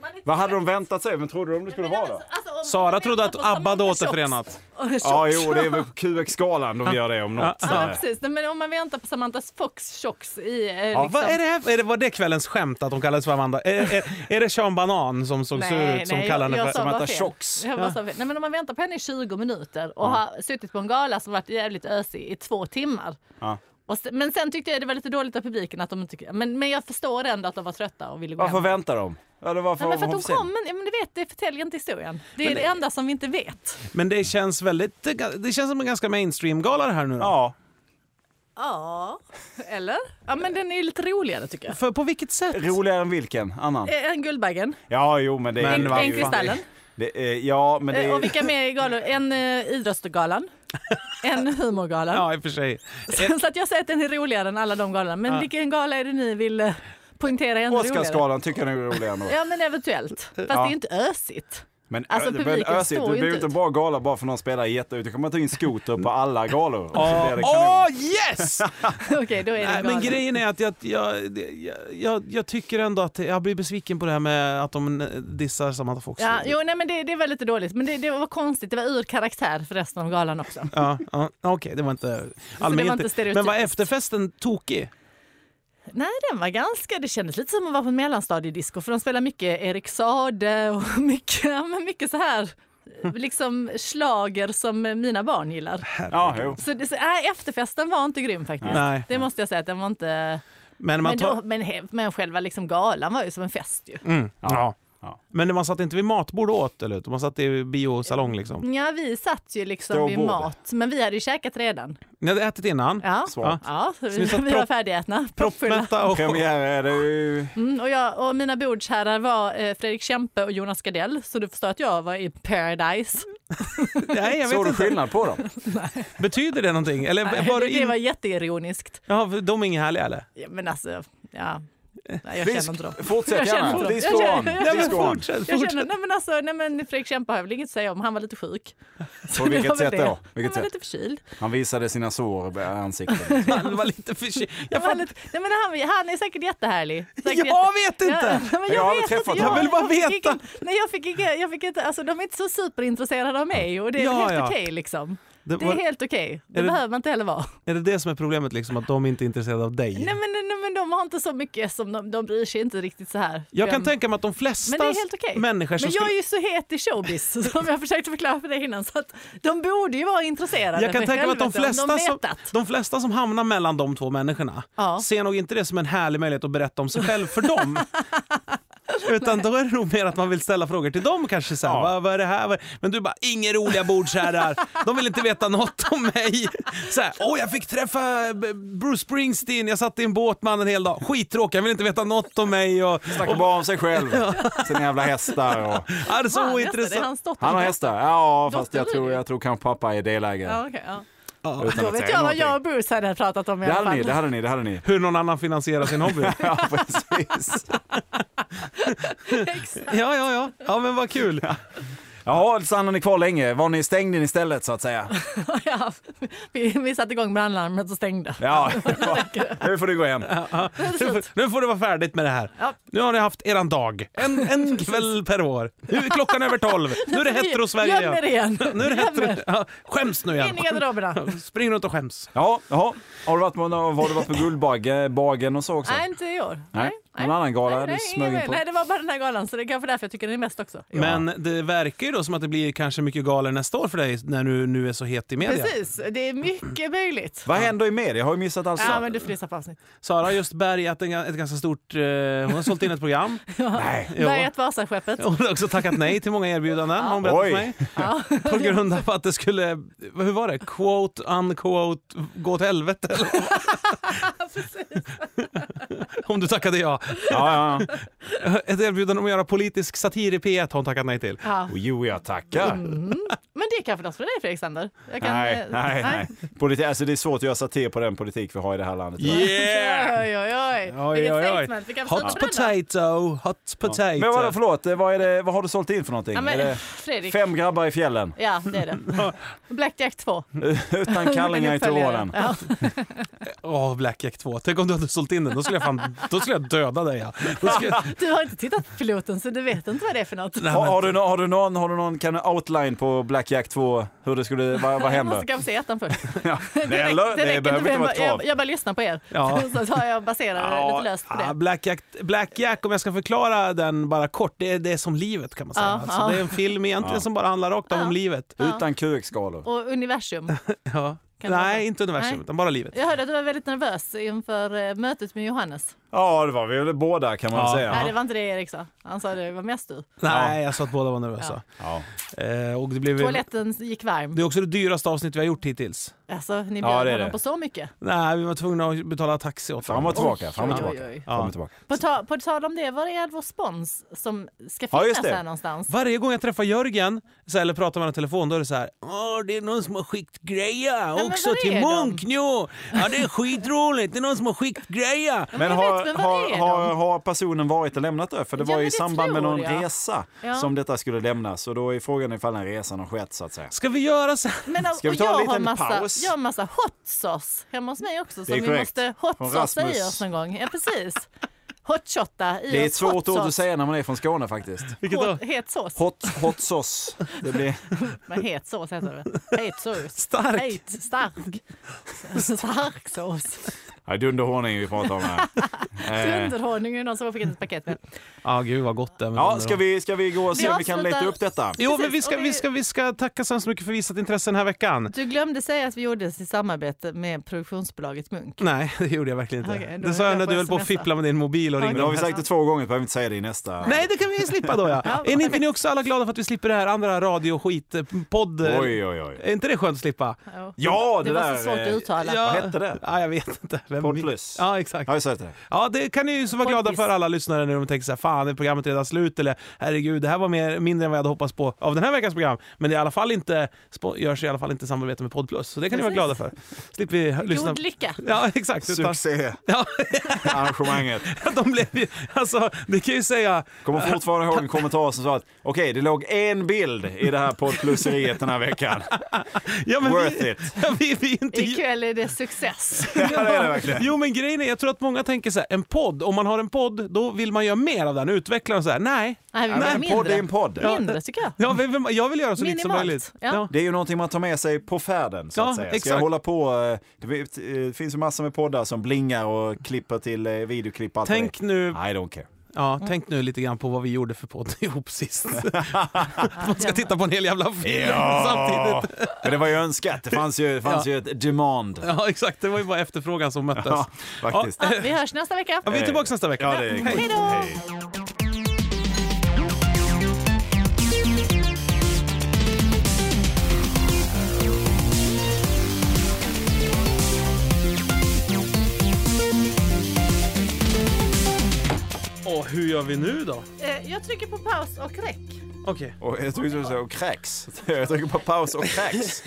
S2: Man är inte
S3: Vad
S2: så
S3: hade de
S2: rädd.
S3: väntat sig? Vem trodde de det skulle
S2: Men
S3: vara
S2: alltså,
S3: då?
S2: alltså, om-
S1: Sara
S2: om-
S1: trodde att
S2: om-
S1: ABBA
S2: om-
S1: då
S2: om-
S1: återförenat.
S2: Och tjock.
S3: Ja, jo, det är väl QX-galan de gör det om något.
S2: Ja, precis. Nej, men om man väntar på Samantha Fox tjocks i... Eh, liksom.
S1: Vad är det här? Är det, var det kvällens skämt att hon kallades för Amanda? Är, är, är det Sean Banan som såg sur ut som kallar henne för
S2: sa bara
S1: Samantha
S2: fel.
S1: Tjocks?
S2: Jag bara sa fel. Nej, men om man väntar på henne i 20 minuter och har suttit på en gala som varit jävligt ösig i två timmar.
S3: Ja.
S2: Och se- men sen tyckte jag det var lite dåligt av publiken att de inte... Men, men jag förstår ändå att de var trötta och ville gå
S3: Varför
S2: hem.
S3: väntar de? Eller varför
S2: Nej, men för att
S3: var
S2: hon
S3: för sen?
S2: kom, men, ja, men du vet, det förtäljer inte historien. Det är det enda som vi inte vet.
S1: Men det känns väldigt... Det känns som en ganska mainstream-gala det här nu då.
S3: Ja,
S2: Ja, eller? Ja, men den är ju lite roligare tycker jag.
S1: För på vilket sätt?
S3: roligare än vilken annan?
S2: Eh, En Guldbaggen,
S3: Ja, jo, men det är
S1: Men
S3: ju-
S1: vad
S2: en
S1: fan.
S2: Kristallen.
S3: Det är, ja, men det
S2: Eh,
S3: är,
S2: Och vilka mer galor? En eh, Idrottsgalan. än humorgalan.
S1: Ja, i och för sig.
S2: Så, så att jag säger att den är roligare än alla de galorna. Men
S1: Ja.
S2: vilken gala är det ni vill eh, poängtera är ännu roligare?
S3: Oscarsgalan tycker jag nog är rolig ändå.
S2: Ja men eventuellt. Fast det är ju inte ösigt.
S3: Men,
S2: Alltså,
S3: men
S2: publiken
S3: ösigt,
S2: står
S3: det
S2: ju
S3: blir ju
S2: inte
S3: inte
S2: ut.
S3: en bra gala bara för någon spelar jätte ut. Då kan man ta in skoter på alla galor. Så
S1: Åh,
S3: blir det kanon.
S1: åh, yes!
S2: Okej, då är
S1: Nej,
S2: det en
S1: men
S2: gala.
S1: grejen är att jag, jag, jag, jag, jag tycker ändå att jag blir besviken på det här med att de dissar Samantha Fox.
S2: Ja, jo, nej, men det, det var lite dåligt. Men det, det var konstigt. Det var ur karaktär för resten av galan också.
S1: Ja, ja, Okej, det var inte
S2: det var
S1: allmänt.
S2: inte stereotypiskt.
S1: Men var efterfesten tokig?
S2: Nej, den var ganska... Det kändes lite som att vara på en mellanstadiedisco för de spelar mycket Erik Saade och mycket, ja, men mycket så här liksom slager som mina barn gillar.
S3: Ja, jo.
S2: Så, det, så nej, efterfesten var inte grym faktiskt.
S1: Nej.
S2: Det måste jag säga att den var inte...
S1: Men man
S2: Men,
S1: tar...
S2: då, men, he- men själva liksom galan var ju som en fest ju.
S1: Mm. Ja.
S3: Ja.
S1: Men man satt inte vid matbord och åt, eller? utan Man satt i biosalong liksom.
S2: Ja, vi satt ju liksom vid
S3: Ståbord.
S2: mat, men vi hade ju käkat redan.
S1: Ni hade ätit innan?
S2: Ja,
S3: Svagt.
S2: ja så vi,
S1: ni satt
S2: vi var
S1: propp-
S2: färdigätna, proppfulla.
S1: Proppmätta och...
S3: Premiär är det ju...
S2: Mm, och, jag, och mina bordsherrar var eh, Fredrik Kempe och Jonas Gardell, så du förstår att jag var i paradise.
S1: Nej, jag
S3: Såg
S1: vet
S3: du
S1: inte.
S3: skillnad på dem?
S1: Betyder det någonting? Eller
S2: Nej,
S1: Eh, var
S2: det,
S1: du
S2: det
S1: in...
S2: var jätteironiskt.
S1: Ja, de är inga härliga eller?
S2: Ja, men alltså, ja. Nej, jag
S3: Vi
S2: känner inte dem.
S3: sk- Fortsätt
S2: Jag känner
S3: gärna.
S2: inte dem.
S3: Disco
S2: Jag
S3: on.
S2: känner-
S1: Ja, men
S3: Disco on.
S1: fortsätt,
S2: Jag
S1: fortsätt.
S2: känner, nej men alltså, nej men Fredrik Kempe har jag väl inget att säga om, han var lite sjuk.
S3: På vilket sätt då?
S2: han
S3: Vilket
S2: var
S3: sätt?
S2: lite förkyld.
S3: Han visade sina sår i ansiktet.
S1: Han var lite förkyld. Jag,
S2: Han, var
S1: fatt...
S2: lite, nej, men han, han är säkert jättehärlig. Säkert jätte-
S1: jag vet inte!
S2: Ja, men
S3: Jag
S2: jag,
S3: har
S2: vet
S3: aldrig
S2: inte.
S3: träffat
S1: honom. Jag vill bara
S2: fick
S1: veta.
S2: ingen- nej, jag fick inte, jag fick inte, alltså, de är inte så superintresserade av mig och det är
S1: Ja,
S2: helt
S1: ja.
S2: okej. liksom.
S1: Det
S2: Det är
S1: var...
S2: helt okej. Det,
S1: Är det-
S2: behöver man inte heller vara.
S1: Är det det som är problemet, liksom, att de inte är intresserade av dig?
S2: Nej men, nej, men de har inte så mycket som de, de bryr sig inte riktigt så här.
S1: jag kan
S2: Vem-
S1: tänka mig att de
S2: men det
S1: flesta
S2: är helt okej.
S1: människor som
S2: Men jag är ju så het i showbiz som jag försökte förklara för dig innan så att de borde ju vara intresserade.
S1: Jag kan
S2: för
S1: tänka mig att de
S2: helvete, om
S1: flesta, som,
S2: vetat.
S1: de flesta som hamnar mellan de två människorna
S2: Ja.
S1: ser nog inte det som en härlig möjlighet att berätta om sig själv för dem. Utan då är det nog mer att man vill ställa frågor till dem kanske. Så här,
S3: Ja.
S1: vad, vad är det här? Vad- Men du bara, inga roliga bordsherrar. De vill inte veta något om mig. Så här, Åh, jag fick träffa B- Bruce Springsteen. Jag satt i en båt med han en hel dag. Skittråkig, han vill inte veta något om mig. Och,
S3: Snackar bara om sig själv. Sina jävla hästar och...
S1: ja, det är så
S2: Fan, nästa, det är
S1: ointressant.
S2: hans dotter.
S3: Han har hästar. Ja, fast jag
S2: Dotter
S3: tror,
S2: Lydia.
S3: jag tror kanske pappa är delägare.
S2: Ja, okej, ja.
S1: Ja.
S3: Utan
S2: Då
S3: att
S2: vet
S3: säga
S2: jag vad
S3: någonting.
S2: jag och Bruce hade pratat om i
S3: Det
S2: alla
S3: hade ni,
S2: fall.
S3: det hade ni, det hade ni.
S1: Hur någon annan finansierar sin hobby.
S3: Ja, precis.
S2: Exakt.
S1: Ja, ja, ja. Ja, men vad kul.
S3: Jaha, stannade ni kvar länge? Var ni stängd in istället så att säga?
S2: ja, vi, vi satte igång brandlarmet och stängde.
S3: Ja, nu får du gå hem.
S1: Nu får, nu får det vara färdigt med det här.
S2: Ja.
S1: Nu har ni haft eran dag. En, en kväll per år. Nu är klockan över tolv. Nu är det hetero-Sverige
S2: Göm er
S1: igen.
S2: igen.
S1: Nu är det hetero... Ja, skäms nu igen.
S2: In i garderoberna.
S1: Spring runt och skäms.
S3: Ja, jaha. Har du varit på, någon- har du varit på Guldbaggen och så också?
S2: Nej, inte i år.
S3: Nej. Någon annan gala
S2: nej,
S3: du
S2: nej,
S3: smög
S2: ingen
S3: in på?
S2: nej, det var bara den här galan, så det är kanske därför jag tycker den är mest också. Ja.
S1: Men det verkar ju då som att det blir kanske mycket galor nästa år för dig när du nu är så het i media.
S2: Precis, det är mycket möjligt.
S3: Vad händer i media? Jag har ju missat allt.
S2: Ja, men du får lyssna på avsnitt.
S1: Sara har just bärgat en, ga- ett ganska stort... Eh, hon har sålt in ett program.
S3: Nej.
S1: Jo.
S2: Berget Vasaskeppet.
S1: Hon har också tackat nej till många erbjudanden, har hon berättat för
S3: Oj.
S1: mig.
S2: Ja.
S1: På grund av att det skulle, hur var det? Quote, unquote, gå åt helvete eller vad? Om du tackade ja.
S3: Ja, ja.
S1: Ett erbjudande om att göra politisk satir i P1 har hon tackat nej till.
S2: Ja.
S3: Och Jo, jag tackar.
S2: Men det är kanske något för dig Fredrik Sander? Mm. Jag kan,
S3: Nej,
S2: eh,
S3: nej, nej. Politi- alltså, det är svårt att göra satir på den politik vi har i det här landet.
S1: Yeah!
S2: Oj, oj, oj.
S1: Oj,
S2: Vilket
S1: oj, oj.
S2: statement. Vi kan
S1: Hot potato, hot potato.
S3: Men vadå, förlåt, eh, vad, är det, vad har du sålt in för någonting?
S2: Ja,
S3: är
S2: men,
S3: det
S2: Fredrik.
S3: fem grabbar i fjällen
S2: Ja, det är det. Blackjack 2.
S3: utan kallingar i
S2: Uppföljaren.
S3: tråden?
S2: Ja.
S1: Åh, Blackjack 2. Tänk om du hade sålt in den, då skulle jag, fan, då skulle jag döda dig. Ja. Då skulle jag,
S2: Du har inte tittat på piloten så du vet inte vad det är för något.
S1: nej,
S3: Har,
S1: men,
S3: har, du, nå- har du någon, har du någon kan du outline på Blackjack 2? Hur det skulle, vad, vad
S2: Man
S3: händer?
S2: ska se ettan först.
S3: Ja, det
S2: räcker-
S3: eller, det
S2: räcker
S3: behöver
S2: för
S3: inte vara
S2: en-
S3: ett krav.
S2: jag, jag bara lyssnar på er.
S1: Ja.
S2: Så tar jag baserar det lite löst på
S1: ja,
S2: det.
S1: Blackjack, Blackjack, om jag ska förklara den bara kort, det är, det är som livet kan man säga.
S2: Ja,
S1: alltså,
S2: ja.
S1: Det är en film egentligen som bara handlar rakt av om livet.
S3: Utan QX-skalor.
S2: Och universum.
S1: Ja.
S2: Kan det vara?
S1: Nej, inte universum,
S2: Nej.
S1: utan bara livet.
S2: Jag hörde att du var väldigt nervös inför eh, mötet med Johannes.
S3: Ja, det var vi väl båda kan man
S1: Ja.
S3: säga.
S2: Nej, det var inte det Erik sa. Han sa det var mest du.
S1: Nej, jag sa att båda var nervösa.
S3: Ja.
S1: Eh, och det, blev,
S2: Toaletten gick varm.
S1: det är också det dyraste avsnitt vi har gjort hittills.
S2: Alltså, ni
S3: Ja,
S2: bjöd
S3: det är
S2: honom
S3: det.
S2: på så mycket.
S1: Nej, vi var tvungna att betala taxi åt
S3: Fram
S1: honom.
S3: och tillbaka,
S2: Oj,
S3: fram och
S2: oj,
S3: tillbaka.
S2: oj.
S3: Fram och tillbaka.
S2: På, ta, på tal om det, var är vår spons som ska
S3: Ja,
S2: finnas
S3: just det.
S2: här någonstans?
S1: Varje gång jag träffar Jörgen så här, eller pratar med honom i telefon då är det så här. Åh, det är någon som har skickt grejer
S2: men
S1: också
S2: var är
S1: till
S2: de?"
S1: Munknjo. Ja, det är skitroligt. Det är någon som har skickt grejer.
S3: Men
S2: jag
S3: har,
S2: vet, men var
S3: har,
S2: är
S3: har, har personen varit och lämnat det? För det
S2: Ja,
S3: var
S2: men
S3: ju i
S2: det
S3: samband med
S2: tror
S3: någon
S2: jag.
S3: resa
S2: Ja.
S3: som detta skulle lämnas. Och då är frågan ifall den resan har skett så att säga.
S1: Ska vi göra så här?
S2: Men,
S3: Ska vi
S2: och
S3: ta en
S2: jag har
S3: liten
S2: massa,
S3: paus?
S2: Jag har massa hot sauce hemma hos mig också som vi
S3: korrekt.
S2: måste
S3: Från
S2: hot sauce i
S3: Rasmus.
S2: oss någon gång. Ja, precis. Hotshotta i
S3: Det är ett
S2: oss hot
S3: svårt ord att
S2: sauce.
S3: säga när man är från Skåne faktiskt.
S1: Vilket då?
S2: Hot, het sås.
S3: Hot, hot sås. Det blir...
S2: Men het sås heter det väl? Het sås.
S1: Stark.
S2: Het. Stark. Stark sås.
S3: Ja, dunderhonung vi pratar om här. Eh,
S2: Dunderhonung är ju någon som har skickat ett paket med.
S1: Ja, gud vad gott det är med
S3: Ja,
S1: den
S3: ska
S1: då.
S3: vi, ska vi gå och se
S2: Vi
S3: om vi kan
S2: avslutar-
S3: leta upp detta?
S1: Jo, men
S2: Precis,
S1: vi ska,
S2: och
S1: vi,
S2: vi-
S1: ska, vi ska tacka så hemskt mycket för visat intresse den här veckan.
S2: Du glömde säga att vi gjorde det i samarbete med produktionsbolaget Munk.
S1: Nej, det gjorde jag verkligen inte.
S2: Okej, då
S1: det sa jag
S2: vet
S1: när
S2: jag
S1: du
S2: på
S1: höll på att
S2: SMS.
S1: fippla med din mobil och
S2: Okej.
S1: ringde.
S3: Det har vi sagt det två gånger, behöver inte säga det i nästa.
S1: Nej, det kan vi ju slippa då ja.
S2: Ja.
S1: Är ni, är ni också alla glada för att vi slipper det här andra radioskit-podd?
S3: Oj, oj, oj.
S1: Är inte det skönt att slippa?
S2: Ja,
S3: Ja,
S2: det
S3: det,
S2: var
S3: där...
S2: så svårt att
S3: eh,
S2: uttala.
S1: Ja.
S3: Vad hette det?
S1: Ja, jag vet inte. Vem
S3: Podd
S1: min-
S3: plus.
S1: Eh, Ja, exakt.
S3: Har jag sagt det?
S1: Ja, det kan ni ju så vara glada
S2: Poddis.
S1: för alla lyssnare när de tänker så här, fan är programmet redan slut? Eller herregud, det här var mer, mindre än vad jag hade hoppats på av den här veckans program. Men det är i alla fall inte, spo- görs i alla fall inte i samarbete med Podd plus, så det kan ni vara
S2: Precis.
S1: glada för. Slipper vi hö- lyssna.
S2: God lycka!
S1: Ja, exakt. Utan,
S3: Succé.
S1: ja,
S3: Arrangemanget.
S1: de blev ju, alltså, det kan jag ju säga,
S3: Kommer fortfarande ihåg en kommentar som sa att okej, det låg en bild i det här poddplusseriet den här veckan.
S1: ja, men
S3: Worth
S1: vi,
S3: it.
S1: Ja, vi, vi är inte
S2: Ikväll är det success.
S3: Ja, det är det verkligen.
S1: Jo men grejen är, jag tror att många tänker så här, en podd, om man har en podd då vill man göra mer av den, utveckla den så här. Nej,
S2: Nej, vi
S3: Ja,
S2: vill ha
S3: men en podd är en
S2: mindre.
S3: podd.
S2: Mindre tycker jag.
S1: ja, vem- vem- jag vill göra så lite som
S2: Minimalt,
S1: möjligt.
S2: ja.
S3: Det är ju någonting man tar med sig på färden så att
S1: Ja,
S3: säga. Ska
S1: exakt.
S3: jag hålla på? eh, Det vet- eh, det finns ju massor med poddar som blingar och klipper till eh, videoklipp och allt
S1: Tänk nu,
S3: vad det är. I don't care.
S1: ja,
S2: Mm.
S1: tänk nu lite grann på vad vi gjorde för podd ihop sist. man ska titta på en hel jävla film samtidigt.
S3: Men det var ju önskat. Det fanns ju, det fanns
S1: Ja.
S3: ju ett demand.
S1: Ja exakt, det var ju bara efterfrågan som möttes.
S3: Ja, faktiskt.
S2: Ja, vi hörs nästa vecka.
S1: Ja, vi är tillbaka nästa vecka.
S3: Ja, det är
S1: Hej.
S2: Hej då!
S3: Hej.
S1: Och hur gör vi nu då?
S2: Eh, Jag trycker på paus och räck.
S1: Okej.
S3: Och jag tryckte så och kräks. Jag trycker på paus och kräks.